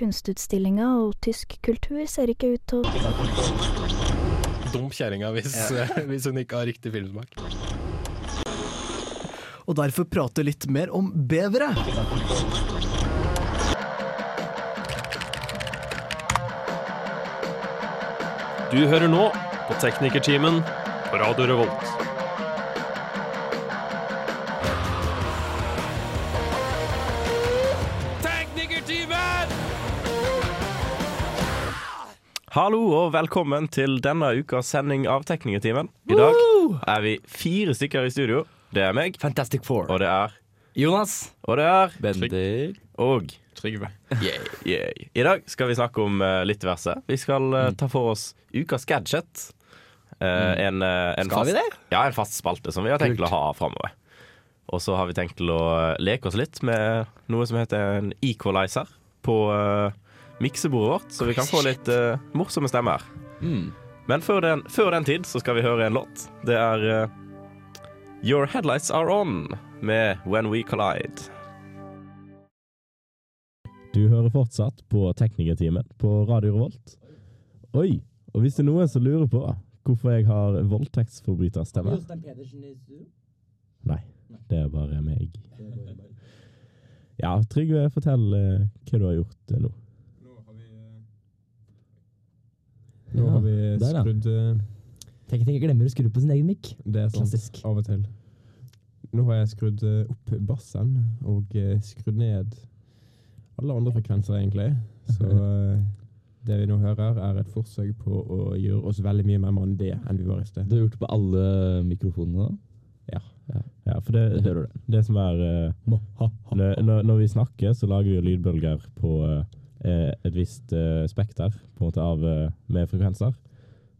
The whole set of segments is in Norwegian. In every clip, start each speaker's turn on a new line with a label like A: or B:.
A: kunstutstillinga, og tysk kultur ser ikke ut til å
B: Dum kjerringa hvis, hvis hun ikke har riktig filmsmak.
C: og derfor prate litt mer om bevere.
D: Du hører nå på Teknikertimen på Radio Revolt. Teknikertimen!
E: Hallo og velkommen til denne ukas sending av Teknikertimen. I dag er vi fire stykker i studio. Det er meg,
F: Fantastic Four.
E: og det er
F: Jonas.
E: Og det er
F: Bendik.
E: Og
G: Trygve.
E: yay. I dag skal vi snakke om uh, litt verse. Vi skal
F: Mm.
E: eh, ta for oss ukas gadget. Eh, en, eh, en
F: Mm. Skal
E: fast,
F: vi det?
E: Ja, en fast spalte som vi har tenkt til å ha framover. Og så har vi tenkt til å eh, leke oss litt med noe som heter en equalizer på eh, miksebordet vårt, så vi kan få litt eh, morsomme stemmer. Men før den, før den tid så skal vi høre en låt. Det er eh, Your Headlights Are On med When We Collide.
H: Du hører fortsatt på Teknikertimen på Radio Revolt. Oi, og hvis det er noen som lurer på hvorfor jeg har voldtektsforbryterstemme Nei, det er bare meg. Ja, Trygve, fortell eh, hva du har gjort eh, nå.
I: Nå har vi
H: der, ja.
I: skrudd eh,
F: Tekniker glemmer å skru på sin egen mikk.
I: Det er sant,
F: Klassisk.
I: av og til. Nå har jeg skrudd eh, opp bassen og eh, skrudd ned alle andre frekvenser, egentlig. Så eh, det vi nå hører, er et forsøk på å gjøre oss veldig mye mer mandige enn vi var i sted.
F: Du har gjort på alle mikrofonene da?
H: Ja, for det, det,
F: hører du.
H: det som er eh, når, når- når vi snakker, så lager vi jo lydbølger på eh, et visst eh, spekter på en måte av, eh, med frekvenser.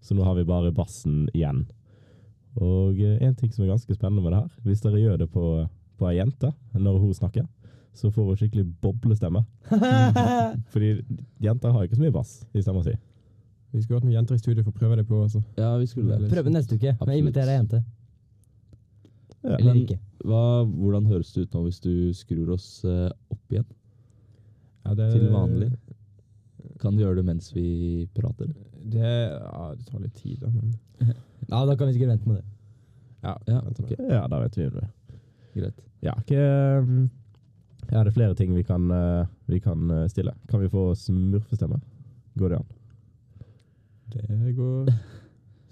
H: Så nå har vi bare bassen igjen. Og eh, en ting som er ganske spennende med det her, hvis dere gjør det på, på ei jente når hun snakker, så får hun skikkelig boblestemme. Fordi jenter har ikke så mye bass i stemma si.
I: Vi skulle hatt noen jenter i studio for å prøve det på. Altså.
F: Ja, vi skulle det.
I: Prøve
F: neste uke.
J: Men inviter ei
F: jente.
H: Ja.
F: Eller ikke.
J: Hva, hvordan høres det ut nå hvis du skrur oss eh, opp igjen?
I: Ja, det,
J: Til vanlig? Kan du gjøre det mens vi prater?
I: Det, ja, det tar litt tid, da. Men
F: Ja, da kan vi sikkert vente med det.
I: ja,
J: Ja,
I: vent og
J: ok.
I: vent.
H: Ja, da vet vi om det.
J: Greit.
H: Ja, hva ja, det er flere ting vi kan, eh, vi kan eh, stille. Kan vi få smurfestemme? Går det an?
I: det går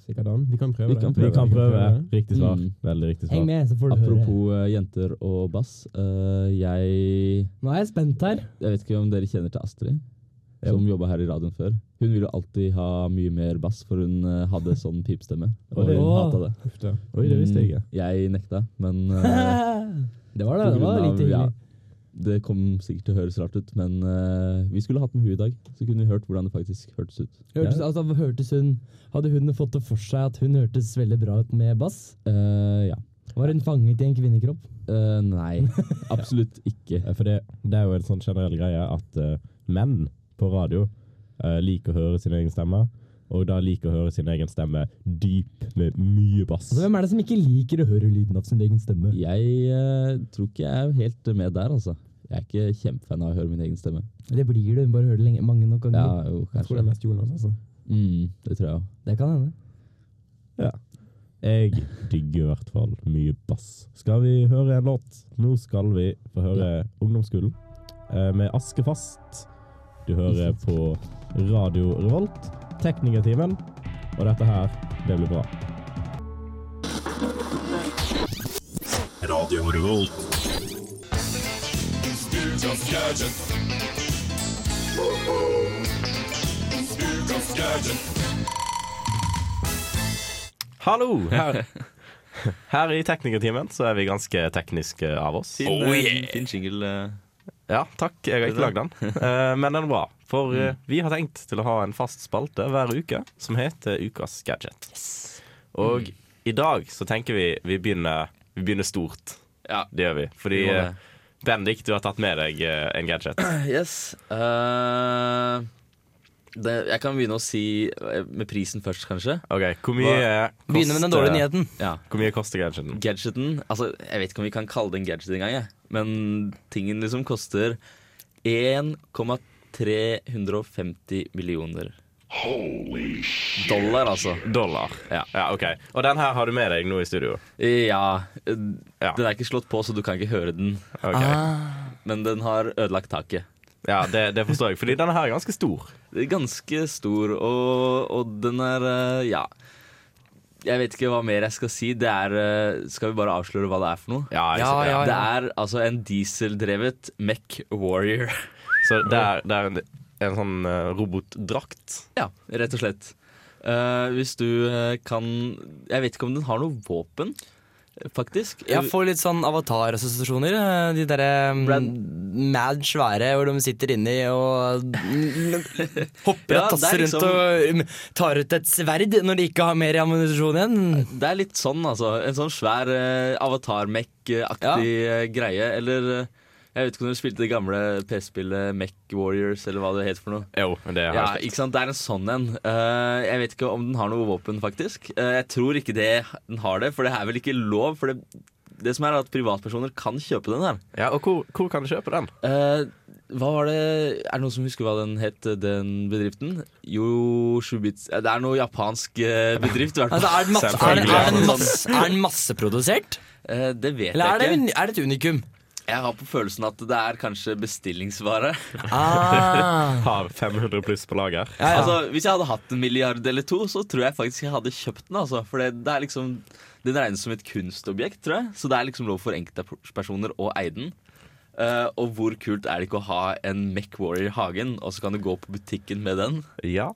I: sikkert an. Vi kan prøve
J: Vi kan
I: det.
H: Vi kan prøve. Riktig svar.
J: Mm.
H: Veldig riktig svar.
F: med, så får
J: Apropos eh, jenter og bass. eh, jeg
F: Nå er jeg spent her.
J: Jeg vet ikke om dere kjenner til Astrid, som jobba her i radioen før. Hun ville alltid ha mye mer bass, for hun eh, hadde sånn pipestemme. Og
H: Oi.
J: hun
F: Åh.
J: hata det.
I: Uff, da.
H: Oi, det visste jeg ikke.
J: Mm, Jeg nekta, men eh,
F: det var
J: på
F: det. Det var
J: grunn
F: litt
J: av-
F: hyggelig.
J: ja, det kom sikkert til å høres rart ut, men eh, vi skulle hatt med henne i dag. Så kunne vi hørt hvordan det faktisk hørtes ut.
F: Hørtes, altså, hørtes hun, hadde hun fått det for seg at hun hørtes veldig bra ut med bass?
J: Eh, ja.
F: Var hun fanget i en kvinnekropp?
J: Eh, nei, absolutt ikke.
H: Eh, For det, det er jo en sånn generell greie at eh, menn på radio eh, liker å høre sin egen stemme, og da liker å høre sin egen stemme dyp med mye bass.
F: Altså, hvem er det som ikke liker å høre lyden av sin egen stemme?
J: Jeg eh, tror ikke jeg er helt med der, altså. Jeg er ikke kjempefan av å høre min egen stemme.
F: Det blir det, hun bare hører det lenge, mange nok ganger.
J: Ja, jo,
I: Jeg tror det
J: kanskje.
I: er mest Jonas, altså.
J: Mm, det tror jeg òg.
F: Det kan hende.
H: Jeg digger i hvert fall mye bass. Skal vi høre en låt? Nå skal vi få høre Ungdomsskolen eh, med Askefast. Du hører på Radio Revolt, Teknikertimen, og dette her, det blir bra.
E: Hallo! Her, her i Teknikertimen så er vi ganske tekniske av oss.
G: Fin, eh, fin jingle. eh.
E: Ja, takk. Jeg har ikke lagd den, Eh, men den er bra. For
G: Mm.
E: eh, vi har tenkt til å ha en fast spalte hver uke som heter Ukas gadget.
G: Mm.
E: Og i dag så tenker vi vi begynner, vi begynner stort.
G: Ja.
E: Det gjør vi. Fordi
G: Vi må
E: eh, Bendik, du har tatt med deg eh, en gadget.
G: Yes. eh, det, jeg kan begynne å si eh, med prisen først, kanskje.
E: Ok, Hvor mye koster
K: Begynner med den dårlige nyheten.
G: Ja.
E: Hvor mye koster gadgeten?
G: Gadgeten altså, Jeg vet ikke om vi kan kalle det en gadget engang, jeg. men tingen liksom koster 1,2
J: 350 millioner dollar, altså.
H: Dollar.
J: Ja.
H: Ja, ok. Og den her har du med deg nå i studio?
J: Ja, eh,
H: Ja.
J: Den er ikke slått på, så du kan ikke høre den. Ah.
H: Ok.
J: Men den har ødelagt taket.
H: Ja, det, det forstår jeg, fordi denne her er ganske stor.
J: Det er Ganske stor, og, og den er eh, Ja. Jeg vet ikke hva mer jeg skal si. Det er eh, Skal vi bare avsløre hva det er for noe?
H: Ja, jeg ser det.
J: Det er altså en dieseldrevet Mech Warrior.
H: Så det er, det er en, en sånn eh, robotdrakt.
J: Ja, rett og slett. Eh, hvis du eh, kan Jeg vet ikke om den har noe våpen, eh, faktisk.
F: Jeg får litt sånn avatar-assosiasjoner. eh, De derre mm, mad svære hvor de sitter inni og hopper
J: Ja,
F: og
J: det er
F: tasser rundt
J: liksom-
F: og mm, tar ut et sverd når de ikke har mer ammunisjon igjen.
J: Det er litt sånn, altså. En sånn svær uh, avatar-mech-aktig eh, greie. Eller eh, jeg vet ikke om dere spilte det gamle PS-spillet Mech Warriors, eller hva det het for noe.
H: Jo, det har
J: Ja,
H: jeg spilt.
J: ikke sant? Det er en sånn en. Eh, jeg vet ikke om den har noe våpen, faktisk. Eh, jeg tror ikke det, den har det, for det er vel ikke lov. For det, det som er at privatpersoner kan kjøpe den her.
H: Ja, og hvor, hvor kan du kjøpe den?
J: Eh, hva var det Er det noen som husker hva den het, eh, den bedriften? Jo, Shubits Det er noe japansk eh, bedrift, i hvert fall.
F: Altså, er den, masse, er, den-
H: Selvfølgelig,
F: er, den
J: ja.
F: masse, er den masseprodusert?
J: Eh, det vet
F: Eller er det,
J: jeg ikke.
F: un- er det et unikum?
J: Jeg har på følelsen at det er kanskje bestillingsvare.
F: Ah.
H: Har 500 pluss på lager.
F: Ja, ja.
J: Altså, Hvis jeg hadde hatt en milliard eller to, så tror jeg faktisk jeg hadde kjøpt den. Altså. For det, det er liksom Den regnes som et kunstobjekt, tror jeg. Så det er liksom lov for enkeltpersoner å eie den. Eh, og hvor kult er det ikke å ha en Mech Warrior i hagen, og så kan du gå på butikken med den?
H: Ja.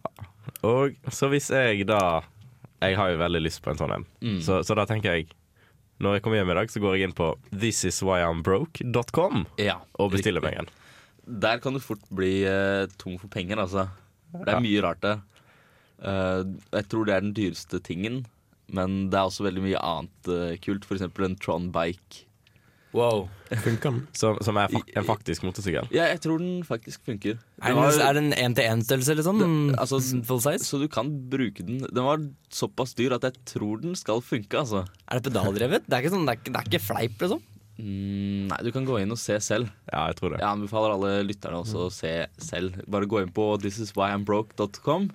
H: Og så hvis jeg da Jeg har jo veldig lyst på en sånn en. Så, så da tenker jeg Når jeg kommer hjem i dag, så går jeg inn på thisiswhyimbroke.com
J: Ja,
H: og bestiller meg en.
J: Der kan du fort bli eh, tom for penger, altså. Det er
H: Ja.
J: mye rart der. Eh, jeg tror det er den dyreste tingen, men det er også veldig mye annet eh, kult. For eksempel en Tron bike.
F: Wow.
L: Funker den?
H: Som, som er fak en faktisk motorsykkel.
J: Ja, jeg tror den faktisk funker.
F: Er
J: Den var-
F: den, er den en-til-en-størrelse, eller sånn?
J: Det- altså,
F: Mm, Full size?
J: Så du kan bruke den. Den var såpass dyr at jeg tror den skal funke, altså.
F: Er det pedaldrevet? Det er ikke, sånn, det er ikke, det er ikke fleip, liksom?
J: Mm, nei, du kan gå inn og se selv.
H: Ja, jeg tror det.
J: Jeg anbefaler alle lytterne
F: Mm.
J: også å se selv. Bare gå inn på thisiswhyimbroke.com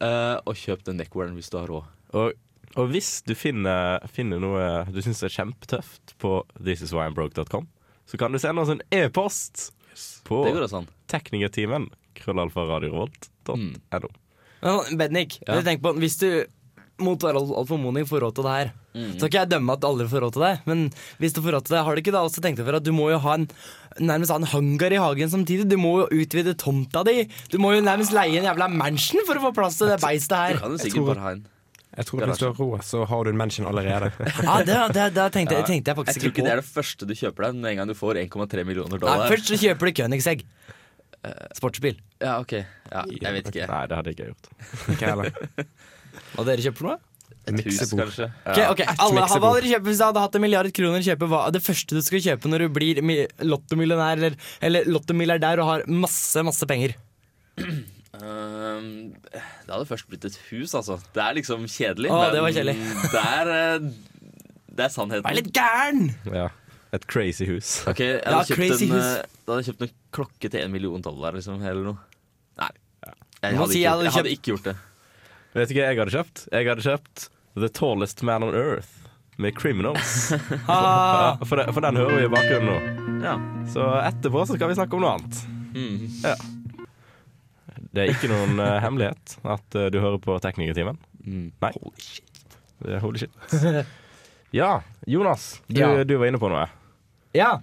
J: eh, og kjøp den neckwearen hvis du har råd.
H: Og, og hvis du finner, finner noe du syns er kjempetøft på thisiswhyimbroke.com, så kan du sende oss en e-post på
J: Det går sånn. også an.
H: teknikertimen krøllalfaradiorolt.no.
J: Mm.
F: Men sånn, Bennik,
J: Ja.
F: tenk på, hvis du mot all, all formodning får råd til det her
J: Mm.
F: Så kan ikke jeg dømme at alle får råd til det, men hvis du får råd til det, har du ikke da også tenkt deg for at du må jo ha en nærmest ha en hangar i hagen samtidig? Du må jo utvide tomta di. Du må jo nærmest leie en jævla mansion for å få plass til det beistet
J: Du
F: her.
J: kan jo
L: Jeg
J: sikkert
L: tror-
J: bare ha en.
L: Jeg tror at hvis du har råd, så har du en mention allerede.
F: Ja, det, det, det tenkte, jeg- tenkte jeg
J: Jeg
F: faktisk ikke
J: tror ikke det
F: på.
J: er det første du kjøper deg med en gang du får 1,3 millioner
F: Nei,
J: dollar.
F: først så kjøper du Königsegg. Sportsbil.
J: Ja, ok. Ja, jeg vet ikke.
H: Nei, det hadde ikke jeg gjort.
L: Ikke heller.
F: Og dere kjøper noe?
J: Et hus,
L: Miksebord.
J: kanskje.
F: Ok, ok, alle, hva hadde dere kjøpt Hvis du hadde hatt en milliard kroner kjøpe, hva, Det første du skal kjøpe når du blir mi- lottomillionær Eller, eller lottomilliardær og har masse, masse penger
J: Ehm, det hadde først blitt et hus, altså. Det er liksom kjedelig.
F: Å,
J: men
F: det var kjedelig.
J: Det er, eh, det er sannheten.
F: Vær litt gæren!
H: Ja. Et crazy hus.
J: Ok, jeg
F: Ja,
J: hadde, kjøpt
F: crazy
J: en,
F: hus.
J: eh, da hadde jeg kjøpt en klokke til en million dollar, liksom, eller noe. Nei. Jeg
F: Må
J: hadde,
F: si
J: ikke,
F: jeg
J: gjort-
F: hadde
J: jeg hadde ikke gjort det.
H: Vet du hva jeg hadde kjøpt? Jeg hadde kjøpt The Tallest Man on Earth med Criminals.
F: Ah,
H: Ja, for, det, for den hører vi i bakgrunnen nå.
J: Ja.
H: Så etterpå så skal vi snakke om noe annet.
J: Mm.
H: Det er ikke noen eh, hemmelighet at eh, du hører på Teknikertimen.
J: Mm.
H: Nei. Holy shit. Holy shit. Ja, Jonas. Du,
F: Ja.
H: du var inne på noe.
F: ja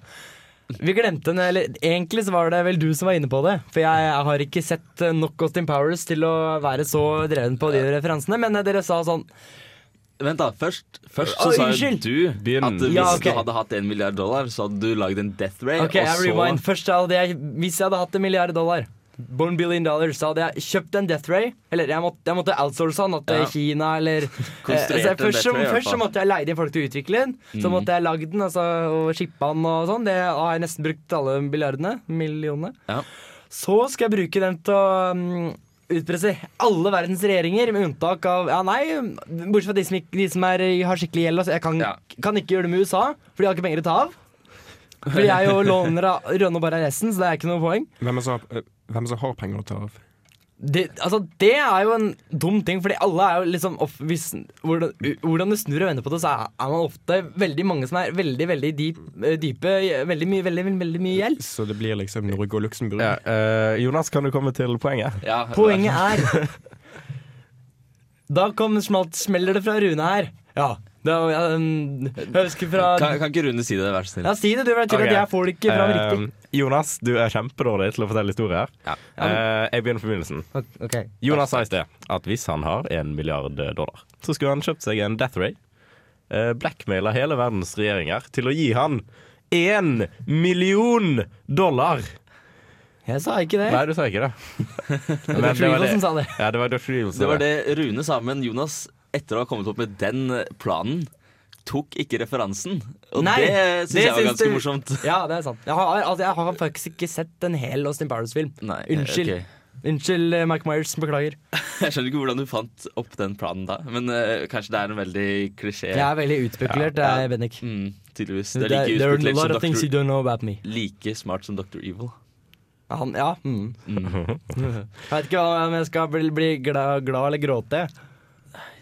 F: Vi glemte den Eller egentlig så var det vel du som var inne på det For jeg, jeg har ikke sett eh, nok Austin Powers Til å være så dreven på de referansene Men eh, dere sa sånn
J: Vent, da. Først, først
F: Å,
J: så sa jo
F: unnskyld.
J: du at hvis
F: Ja, ok.
J: du hadde hatt en milliard dollar, så hadde du lagd en death ray,
F: Ok, jeg
J: og
F: rewind Eh, Først hadde jeg Hvis jeg hadde hatt en milliard dollar Born billion dollars Så hadde jeg kjøpt en death ray Eller jeg måtte, jeg måtte outsource han At eh,
J: Ja.
F: Kina eller
J: Konstruert
F: Eh, så først,
J: en death
F: så,
J: ray, i hvert
F: først så
J: fall. Mm.
F: måtte jeg leie de folk til å utvikle den Så måtte jeg lage den altså, Og shippe den og sånn Det har jeg nesten brukt alle milliardene Millionene
J: Ja.
F: Så skal jeg bruke den til å mm, Utpresse alle verdens regjeringer Med unntak av, ja nei Bortsett fra de som, ikke- de som er, har skikkelig gjeld altså, Jeg kan,
J: Ja.
F: kan ikke gjøre det med USA For de har ikke penger å ta av For jeg jo låner av Rønne og Barreisen, så det er ikke noe poeng.
I: Hvem er det som har- eh, hvem er det som har penger å ta av?
F: Det, altså, det er jo en dum ting, fordi alle er jo liksom off, hvis, hvordan, hvordan du snur og vender på det, så er, er man ofte veldig mange som er veldig, veldig dyp, dype. Veldig mye, veldig, veldig, veldig mye gjeld.
I: Så det blir liksom Norge og Luxembourg.
H: Ja, eh, Jonas, kan du komme til poenget?
F: Poenget er Da kom smalt, smeller det fra Rune her. Ja. Det, var- ja, um, jeg husker fra
J: Kan, kan ikke Rune si det, vær så snill?
F: Ja, si det, du vet til
H: Ok.
F: at jeg får det ikke fram
H: Eh,
F: riktig.
H: Jonas, du er kjempedårlig til å fortelle historier.
F: Ja, men-
H: Eh, jeg begynner på begynnelsen.
F: Ok.
H: Jonas sa i sted at hvis han har en milliard dollar, så skulle han kjøpt seg en Death Ray. Eh, Blackmaila hele verdens regjeringer til å gi han én million dollar.
F: Jeg sa ikke det.
H: Nei, du sa ikke det. Men
J: Dutch Regal som sa det.
H: Ja, det var Dutch Regal som sa
J: Det var det Rune sa, men Jonas, etter å ha kommet opp med den eh, planen, tok ikke referansen. Og det syns jeg var
F: syns
J: ganske
F: du-
J: morsomt.
F: Ja, det er sant. Jeg har, altså, jeg har faktisk ikke sett en hel Austin Powers-film. Unnskyld.
J: ok.
F: Unnskyld, eh, Mike Myers. Beklager.
J: Jeg skjønner ikke hvordan du fant opp den planen da, men eh, kanskje det er en veldig klisjé.
F: Jeg er veldig utspekulert, eh,
J: Ja.
F: jeg, Bennik.
J: Mm, tydeligvis. Det
F: There,
J: er like
F: there are a
J: utspekulert
F: lot of
J: som
F: things you
J: Dr.
F: don't know about me.
J: Like smart som Dr. Evil.
F: Han, ja. Mm.
J: Mm.
F: Jeg vet ikke hva- om jeg skal bli, bli glad, glad eller gråte.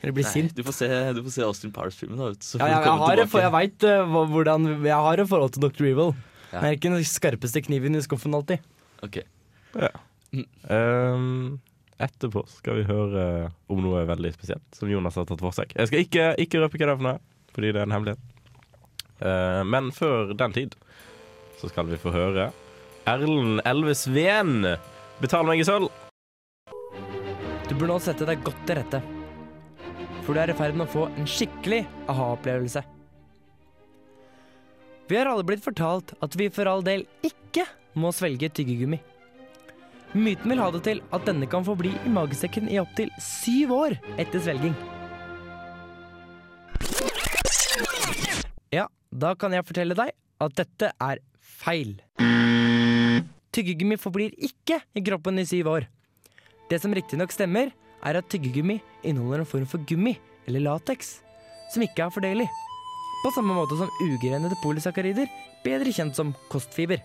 F: Eller bli
J: Nei,
F: sint.
J: Du får se, du får se Austin Powers-filmen. da, vet du,
F: Ja,
J: så får du
F: jeg, jeg,
J: komme
F: har,
J: tilbake.
F: for jeg vet eh, hva- hvordan Jeg har et forhold til Dr. Evil.
J: Ja.
F: Men jeg er ikke den skarpeste kniven i skuffen alltid.
J: Ok.
H: Ja. Ehm, etterpå skal vi høre om noe veldig spesielt som Jonas har tatt for seg. Jeg skal ikke, ikke røpe hva det er for noe, fordi det er en hemmelighet. Ehm, men før den tid så skal vi få høre Erlend Elvesveen betal meg i sølv.
F: Du bør nå sette deg godt til rette. For du er i ferd med å få en skikkelig aha-opplevelse. Vi har alle blitt fortalt at vi for all del ikke må svelge tyggegummi. Myten vil ha det til at denne kan forbli i magesekken i opptil syv år etter svelging. Ja, da kan jeg fortelle deg at dette er feil. Tyggegummi forblir ikke i kroppen i syv år. Det som riktignok stemmer, er at tyggegummi inneholder en form for gummi, eller lateks, som ikke er fordelig. På samme måte som ugreinede polysakkarider, bedre kjent som kostfiber.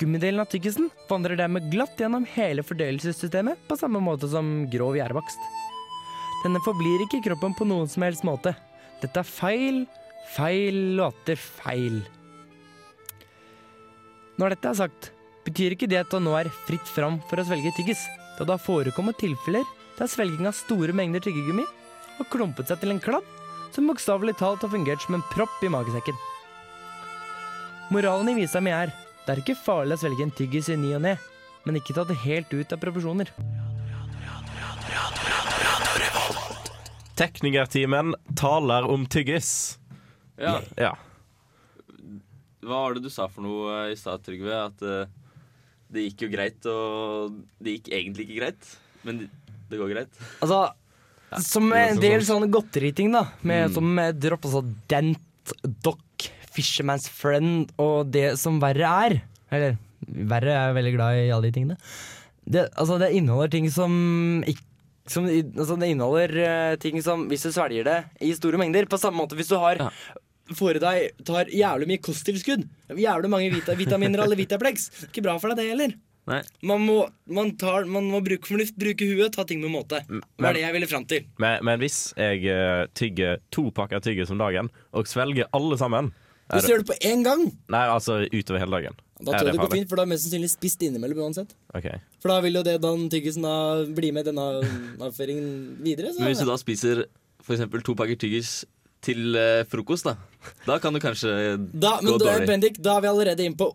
F: Gummidelen av tyggisen vandrer dermed glatt gjennom hele fordøyelsessystemet på samme måte som grov gjærbakst. Denne forblir ikke i kroppen på noen som helst måte. Dette er feil, feil og atter feil. Når dette er sagt, betyr ikke det at det nå er fritt fram for å svelge tyggis, da det har forekommet tilfeller der svelging av store mengder tyggegummi har klumpet seg til en klabb som bokstavelig talt har fungert som en propp i magesekken. Moralen i visa mi er det er ikke farlig å svelge en tyggis i ny og ne, men ikke ta det helt ut av proporsjoner.
H: Teknikertimen taler om tyggis.
J: Ja.
H: ja.
J: Hva var det du sa for noe eh, i stad, Trygve? At eh, det gikk jo greit, og det gikk egentlig ikke greit, men det går greit.
F: Altså, som
J: det er
F: en
J: så
F: del
J: sant.
F: sånne godteriting, da, med,
J: Mm.
F: som eh, dropp, altså Dent, Doc, Fisherman's Friend og det som verre er Eller verre er jeg veldig glad i alle de tingene. Det, altså, det inneholder ting som ikke som, i- altså det inneholder eh, ting som Hvis du svelger det i store mengder På samme måte hvis du har får i deg tar jævlig mye kosttilskudd, jævlig mange vita, vitaminer eller Vitaplex, ikke bra for deg det heller.
J: Nei.
F: Man må, man, tar, man må bruke fornuft, bruke huet, ta ting med måte. Det
H: men-
F: var det jeg ville fram til.
H: Men, men hvis jeg eh, tygger to pakker tyggis om dagen, og svelger alle sammen er
M: Hvis du gjør det på én gang,
H: Nei, altså utover hele dagen.
M: da
H: Er
M: tror jeg det går
H: farlig?
M: fint, for da har du mest sannsynlig spist innimellom uansett.
H: Ok.
M: For da vil jo det den tyggisen da bli med i denne avføringen videre. Så
J: Men hvis du da spiser for eksempel to pakker tyggis til eh, frokost, da Da kan du kanskje
M: da,
J: gå
M: men da,
J: dårlig.
M: Bendik, da er vi allerede inne på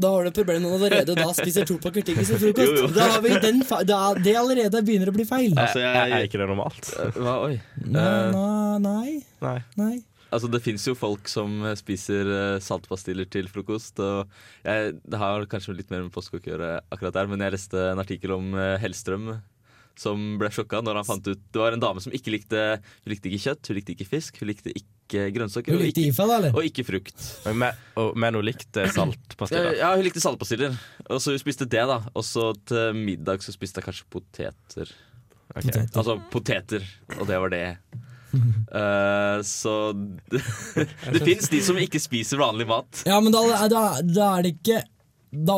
M: Da har du et problem når du allerede da spiser to pakker tyggis til frokost.
H: Jo, jo.
M: Da har vi den fa da, det allerede begynner å bli feil.
H: er, er ikke det normalt?
J: Altså, Eh, Hva, oi. Eh,
M: Nei, nei, nei.
H: Nei.
M: nei.
J: Altså Det fins jo folk som eh, spiser eh, saltpastiller til frokost. Og jeg, det har kanskje litt mer med postkokk å gjøre, akkurat der men jeg leste en artikkel om eh, Hellstrøm som ble sjokka når han fant ut Det var en dame som ikke likte Hun likte ikke kjøtt, hun likte ikke fisk, hun likte ikke grønnsaker.
M: Hun
J: og
M: likte
J: ikke-
M: IFA, da, eller?
J: Og ikke frukt.
H: Men, og, men eh, hun likte saltpastiller.
J: Ja, ja, hun likte saltpastiller. Og så hun spiste det, da. Og så til middag så spiste hun kanskje poteter.
H: Poteter.
J: Altså poteter, og det var det. Eh, så det, det fins de som ikke spiser vanlig mat.
F: Ja, men da, da, da er det ikke da,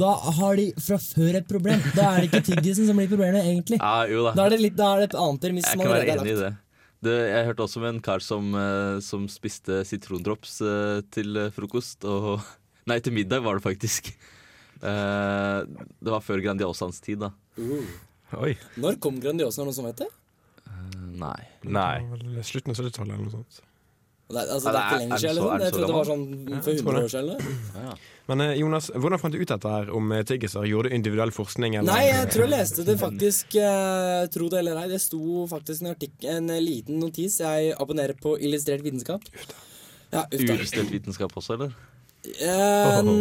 F: da har de fra før et problem. Da er det ikke tyggisen som blir problemet, egentlig.
J: Ja, jo da.
F: Da er det, litt, da er det et annet premiss
J: Jeg
F: som
J: kan være
F: allerede er
J: enig i
F: lagt.
J: det. det. Jeg hørte også om en kar som, eh, som spiste sitrondrops eh, til eh, frokost. Og, nei, til middag var det faktisk. Eh, det var før Grandiosans tid, da. Eh,
F: Uh.
H: Oi.
F: Når kom Grandiosa, er det noen som vet det?
J: Nei.
H: Nei.
I: Slutten av 70-tallet eller noe sånt.
F: Det, er- altså, det er ikke lenger siden. Liksom. Jeg trodde det var sånn for 100 år siden. eller?
I: Men eh, Jonas, hvordan fant du ut dette her om eh, tiggiser? Gjorde du individuell forskning? Eller?
F: Nei, jeg tror jeg leste det faktisk eh, Tro det eller ei, det sto faktisk en, artik en eh, liten notis. Jeg abonnerer på Illustrert vitenskap. Ja, uff da.
J: Urestelt vitenskap også, eller?
F: Eh,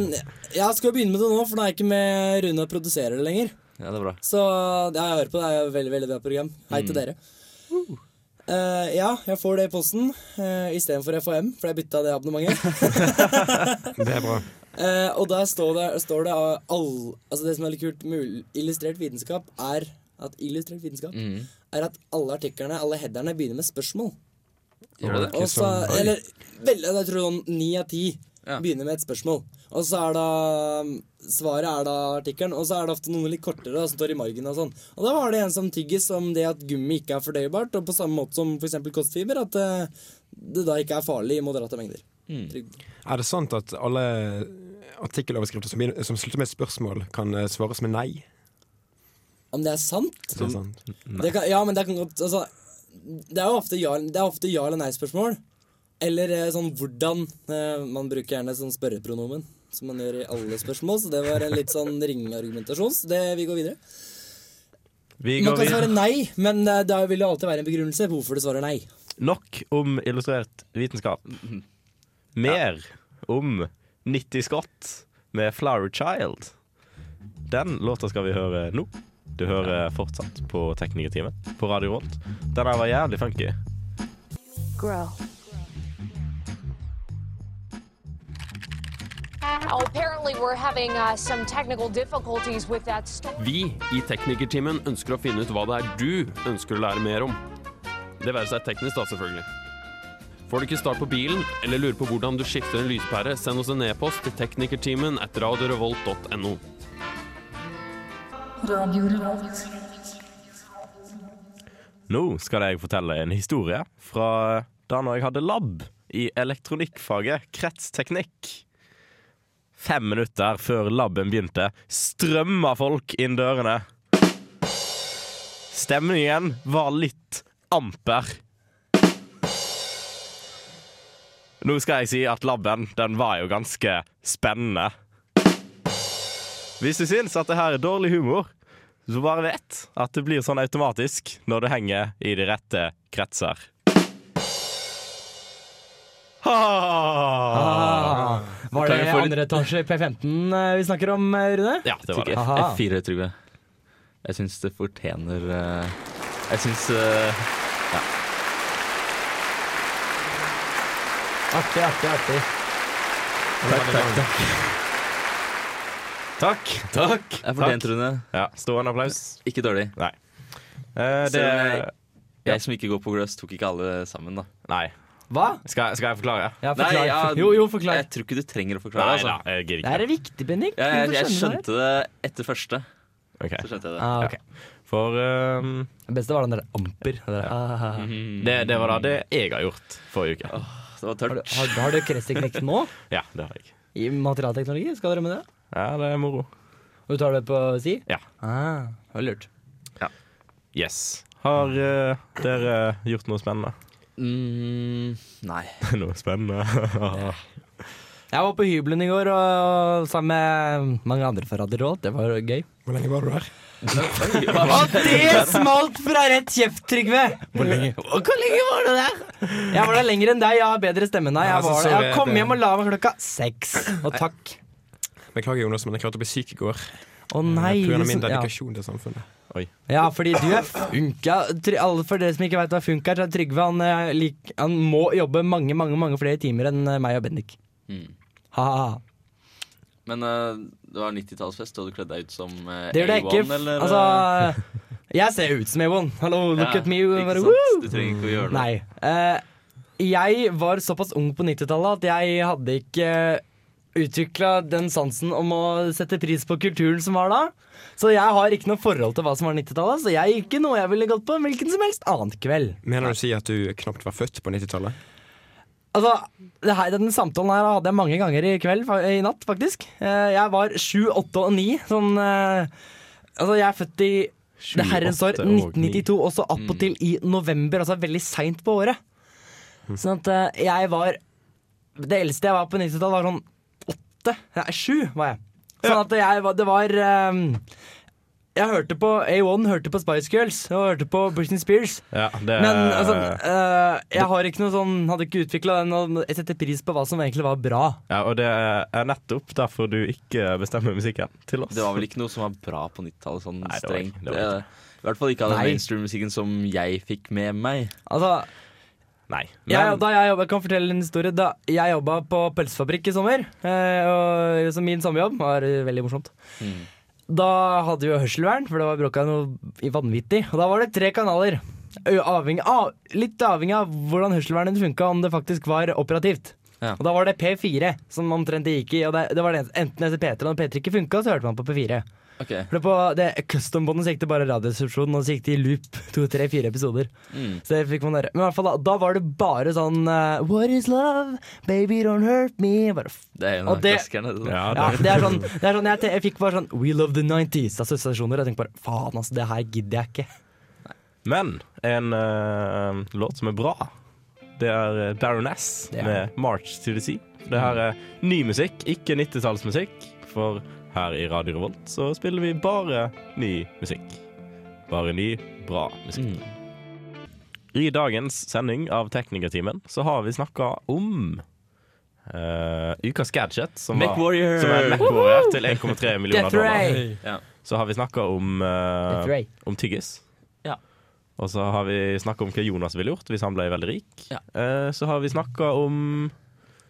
F: jeg skal begynne med det nå, for nå er jeg ikke med Rune og produserer det lenger.
J: Ja, det er bra.
F: Så ja, jeg hører på det. Det er et veldig, veldig bra program. Hei til
J: Mm.
F: dere. Eh, ja, jeg får det i posten uh, istedenfor FHM, for jeg bytta det abonnementet.
I: Det er bra.
F: Eh, og der står det, står det av all, altså Det som er litt kult med ul- illustrert vitenskap, er at illustrert vitenskap
J: Mm.
F: er at alle artiklene, alle headerne, begynner med spørsmål.
J: Gjør det det?
F: Og så,
J: Ikke sånn-
F: Altså, eller vel, jeg tror sånn ni av ti begynner med et spørsmål. Og så er da svaret er da artikkelen, og så er det ofte noen litt kortere da, som står i margen og sånn. Og da var det en som tygges om det at gummi ikke er fordøyebart, og på samme måte som f.eks. kostfiber, at eh, det da ikke er farlig i moderate mengder.
J: Mm.
F: Trygg.
I: Er det sant at alle artikkeloverskrifter som, begynner- som slutter med et spørsmål, kan eh, svares med nei?
F: Om det er sant?
I: Det er sant.
F: Det kan, ja, men det kan godt altså, Det er jo ofte ja, det er ofte ja eller nei-spørsmål. Eller eh, sånn hvordan. Eh, man bruker gjerne sånn spørrepronomen, som man gjør i alle spørsmål. Så det var en litt sånn ringeargumentasjon. Så det, vi går videre.
H: Vi
F: man
H: går
F: kan svare
H: videre.
F: nei, men eh, det vil jo alltid være en begrunnelse på hvorfor du svarer nei.
H: Nok om illustrert vitenskap. Mer om 90 Scott med Flower Child. Den låta skal vi høre nå. Du hører fortsatt på Teknikertimen på Radio Volt. Den her var jævlig funky.
N: grow. Oh, apparently, we're having uh, some technical difficulties with that story.
D: Vi i Teknikertimen ønsker å finne ut hva det er du ønsker å lære mer om. Det være seg teknisk, da, selvfølgelig. Får du ikke start på bilen, eller lurer på hvordan du skifter en lyspære, send oss en e-post til teknikertimen at radiorevolt.no.
O: Radio Revolt.
H: Nå skal jeg fortelle en historie fra da når jeg hadde lab i elektronikkfaget kretsteknikk. Fem minutter før laben begynte, strømma folk inn dørene. Stemningen var litt amper. Nå skal jeg si at laben, den var jo ganske spennende. Hvis du syns at det her er dårlig humor, så bare vet at det blir sånn automatisk når det henger i de rette kretser.
P: Ah, var
J: Kan
P: det
J: vi få litt-
P: andre etasje i P15 eh, vi snakker om, eh, Rune?
H: Ja,
J: Jeg fikk F
P: Aha.
J: F4, Trygve. Jeg syns det fortjener eh, Jeg syns eh, Ja.
P: Artig, artig, artig.
H: Takk, takk, takk. Takk. Takk.
J: Jeg fortjente Rune.
H: Ja, Stående applaus.
J: Ikke dårlig.
H: Nei. Eh,
J: Selv om
H: det
J: jeg, jeg som ikke går på gløss, tok ikke alle sammen, da.
H: Nei.
P: Hva?
H: Skal, skal jeg forklare?
P: forklar. Jo,
J: forklar. Jeg tror ikke du trenger å forklare.
H: Nei
J: altså.
H: da, jeg gidder
P: Det
H: ikke.
P: er viktig, Bendik.
J: Jeg, jeg, jeg
P: Hvorfor skjønner du
J: skjønte det etter første.
H: Ok.
J: Så skjønte jeg det.
P: Ah, ok.
H: For ehm,
P: Det beste var den der amper. Det, der. Ah.
H: det, det var da det jeg har gjort forrige uke.
J: det var tørt.
P: Har, har du kretsteknikk nå?
H: Ja, det har jeg.
P: I materialteknologi? Skal dere med det?
H: Ja, det er moro.
P: Og du tar det på si?
H: Ja.
P: Ah, det var lurt.
H: Yes. Har eh, dere gjort noe spennende?
F: Mm,
J: nei.
H: noe spennende?
P: Jeg var på hybelen i går og sammen med mange andre fra Radio Rolt. Det var gøy.
I: Hvor lenge var du der?
P: Og det smalt fra rett kjeft, Trygve! Hvor lenge? Hvor lenge var du der? Jeg var der lenger enn deg. Jeg har bedre stemme enn deg.
I: Ja,
P: Jeg,
I: altså,
P: var der.
I: sorry,
P: jeg kom
I: det-
P: hjem og la meg klokka seks. Og takk.
I: Beklager, Jonas, men jeg klarte å bli syk i går. eh,
P: Å nei,
I: På grunn av
P: liksom-
I: min
P: ja.
I: dedikasjon til samfunnet.
P: Ja, fordi du er funka. Try- alle For dere som ikke veit hva funka er, så er Trygve han, eh, lik, han må jobbe mange mange, mange flere timer enn eh, meg og Bendik.
J: Mm.
P: Ha-ha.
J: Men eh, det var 90-tallsfest, og du kledde deg ut som eh,
P: Det gjør det
J: A1,
P: ikke. f-
J: eller? eh?
P: altså,
F: Jeg ser ut som Avon. Hallo, look
J: Ja,
F: at me. og
J: ikke
F: bare,
J: sant?
F: woo!
J: Du trenger ikke å gjøre noe.
F: Nei. Eh, jeg var såpass ung på 90-tallet at jeg hadde ikke utvikla den sansen om å sette pris på kulturen som var da. Så jeg har ikke noe forhold til hva som var 90-tallet, så jeg ikke noe jeg ville gått på en hvilken som helst annen kveld.
I: Mener du å si at du knapt var født på 90-tallet?
F: Altså, det her, Denne samtalen her hadde jeg mange ganger i kveld, fa- i natt faktisk. Eh, Jeg var 7, 8 og 9. Sånn, eh, altså, jeg er født i det herrens år
J: åtte og ni. Mm.
F: 1992, og så attpåtil i november. Altså veldig seint på året.
J: Mm.
F: Sånn at eh, jeg var Det eldste jeg var på 90-tallet, var sånn åtte. Nei, sju var jeg. Sånn at jeg var Det var eh, jeg hørte på A1, hørte på Spice Girls og hørte på Britney Spears.
H: Ja, det
F: Men altså, eh, jeg har ikke noe sånn Hadde ikke utvikla den, og jeg setter pris på hva som egentlig var bra.
H: Ja, og det er nettopp derfor du ikke bestemmer musikken til oss.
J: Det var vel ikke noe som var bra på 90-tallet, sånn
H: Nei, det var
J: strengt.
H: ikke- det var ikke.
J: Eh, I hvert fall ikke av den
F: Nei.
J: mainstream-musikken som jeg fikk med meg.
F: Altså,
H: Nei.
F: jeg, da jeg, jobbet, jeg kan fortelle en historie. Da jeg jobba på pølsefabrikk i sommer, eh, og, som min sommerjobb, var eh, veldig morsomt. Da hadde vi jo hørselvern, for det var bråka noe vanvittig. Og da var det tre kanaler. Ø- Avhengig av, litt avhengig av hvordan hørselvernet funka, om det faktisk var operativt. Og da var det P4 som omtrent det gikk i. Og det, det var det, eneste- enten etter P3 eller P3 ikke funka, så hørte man på P4.
J: Ok.
F: For det på det custom-båndet så gikk det bare radioresepsjonen, og så gikk det i loop to, tre, fire episoder.
J: Mm.
F: Så det fikk man høre. Men i hvert fall da, da var det bare sånn eh, What is love? Baby, don't hurt me. Bare, f-
J: Det er jo en
F: Og
J: av
F: det-
J: klassikerne. det er sånn.
F: ja, det er sånn, det er sånn jeg, te- jeg fikk bare sånn We love the 90s-assosiasjoner. Jeg tenkte bare faen, altså, det her gidder jeg ikke.
H: Men en eh, låt som er bra, det er eh, Baroness
F: Det er-
H: med 'March to the Sea'. Det her er ny musikk, ikke 90-tallsmusikk, for her i Radio Revolt så spiller vi bare ny musikk. Bare ny, bra
J: Mm.
H: musikk. I dagens sending av Teknikertimen så har vi snakka om eh, ukas gadget, som, var,
J: MacWarrior!
H: som er en MacWarrior til 1,3
J: Death
H: millioner
J: Ray!
H: dollar.
J: Ja.
H: Så har vi snakka om,
J: Death
H: uh,
J: Ray.
H: om tyggis.
J: Ja.
H: Og så har vi snakka om hva Jonas ville gjort hvis han ble veldig rik. Eh, så har vi snakka om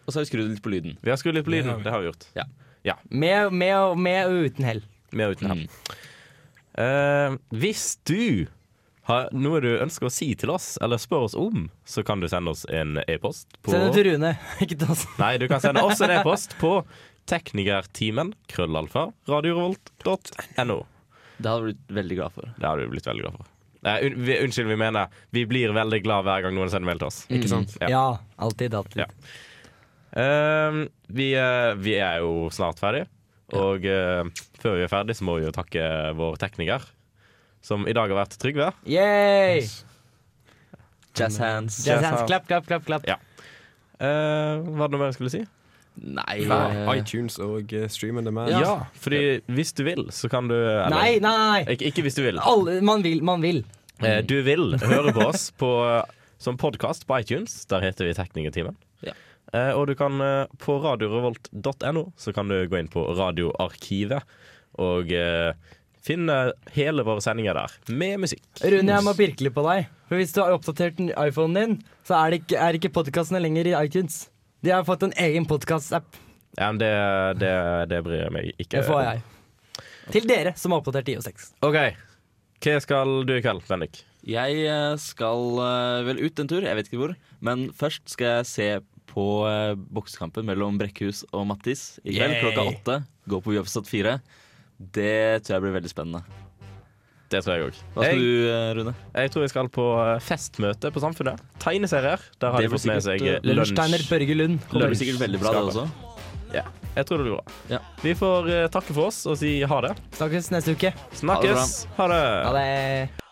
J: Og så har vi skrudd litt på lyden.
H: Vi har skrudd litt på
J: Det
H: lyden,
J: har vi.
H: det har vi gjort.
J: Ja.
H: Ja.
F: Med, med, og- med og uten hell.
H: Med og uten
F: Mm.
H: hell. Eh, hvis du har noe du ønsker å si til oss, eller spør oss om, så kan du sende oss en e-post på
F: Send det til Rune, ikke til oss.
H: Nei, du kan sende oss en e-post på teknikertimen, krøllalfa, radiorevolt.no.
J: Det hadde du blitt veldig glad for.
H: Det hadde du blitt veldig glad for. Nei, un vi, unnskyld, vi mener vi blir veldig glad hver gang noen sender mail til oss.
F: Mm.
H: Ikke sant?
F: Ja. alltid, alltid.
H: Ehm, vi, eh, vi er jo snart ferdig, og eh, før vi er ferdig så må vi jo takke vår tekniker, som i dag har vært Trygve.
F: Yay!
J: Jazz hands.
F: Jazz hands. Klapp, klapp, klapp. klapp.
H: Ja. Eh, var det noe mer jeg skulle si?
J: Nei.
I: Fra iTunes og eh, Stream on Demand.
H: Ja. fordi hvis du vil, så kan du eller,
F: Nei, nei, nei.
H: Ikke, ikke hvis du vil.
F: Alle, man vil, man vil.
H: Eh,
J: Mm.
H: du vil høre på oss på, eh, som podkast på iTunes. Der heter vi Teknikertimen. Eh, og du kan eh, på radiorevolt.no så kan du gå inn på radioarkivet og eh, finne hele våre sendinger der, med musikk.
F: Rune, jeg må pirke litt på deg. For Hvis du har oppdatert den iPhonen din, så er det ikke, er ikke podkastene lenger i iTunes. De har fått en egen podkast-app.
H: Ja, men det, det, det bryr jeg meg ikke
F: Det får jeg. Til dere som har oppdatert IO6.
H: OK. Hva skal du i kveld, Bendik?
J: Jeg eh, skal eh, vel ut en tur, jeg vet ikke hvor. Men først skal jeg se på eh, boksekampen mellom Brekkhus og Mattis i kveld
H: Yay!
J: klokka åtte. Gå på Uoppstått 4. Det tror jeg blir veldig spennende.
H: Det tror jeg òg.
J: Hva skal du, eh, Rune?
H: Jeg tror jeg skal på eh, festmøte på Samfunnet. Tegneserier. Der har
J: Det
H: de
J: blir
H: fått med seg
J: sikkert, eh,
H: eh,
F: Lunsjtegner
H: lunsj.
F: Børge Lund.
J: Det blir sikkert veldig bra, det også.
H: Ja, jeg tror det blir bra. Vi får eh, takke for oss og si ha det.
F: Snakkes neste uke.
H: Snakkes. Ha det.
F: Ha det.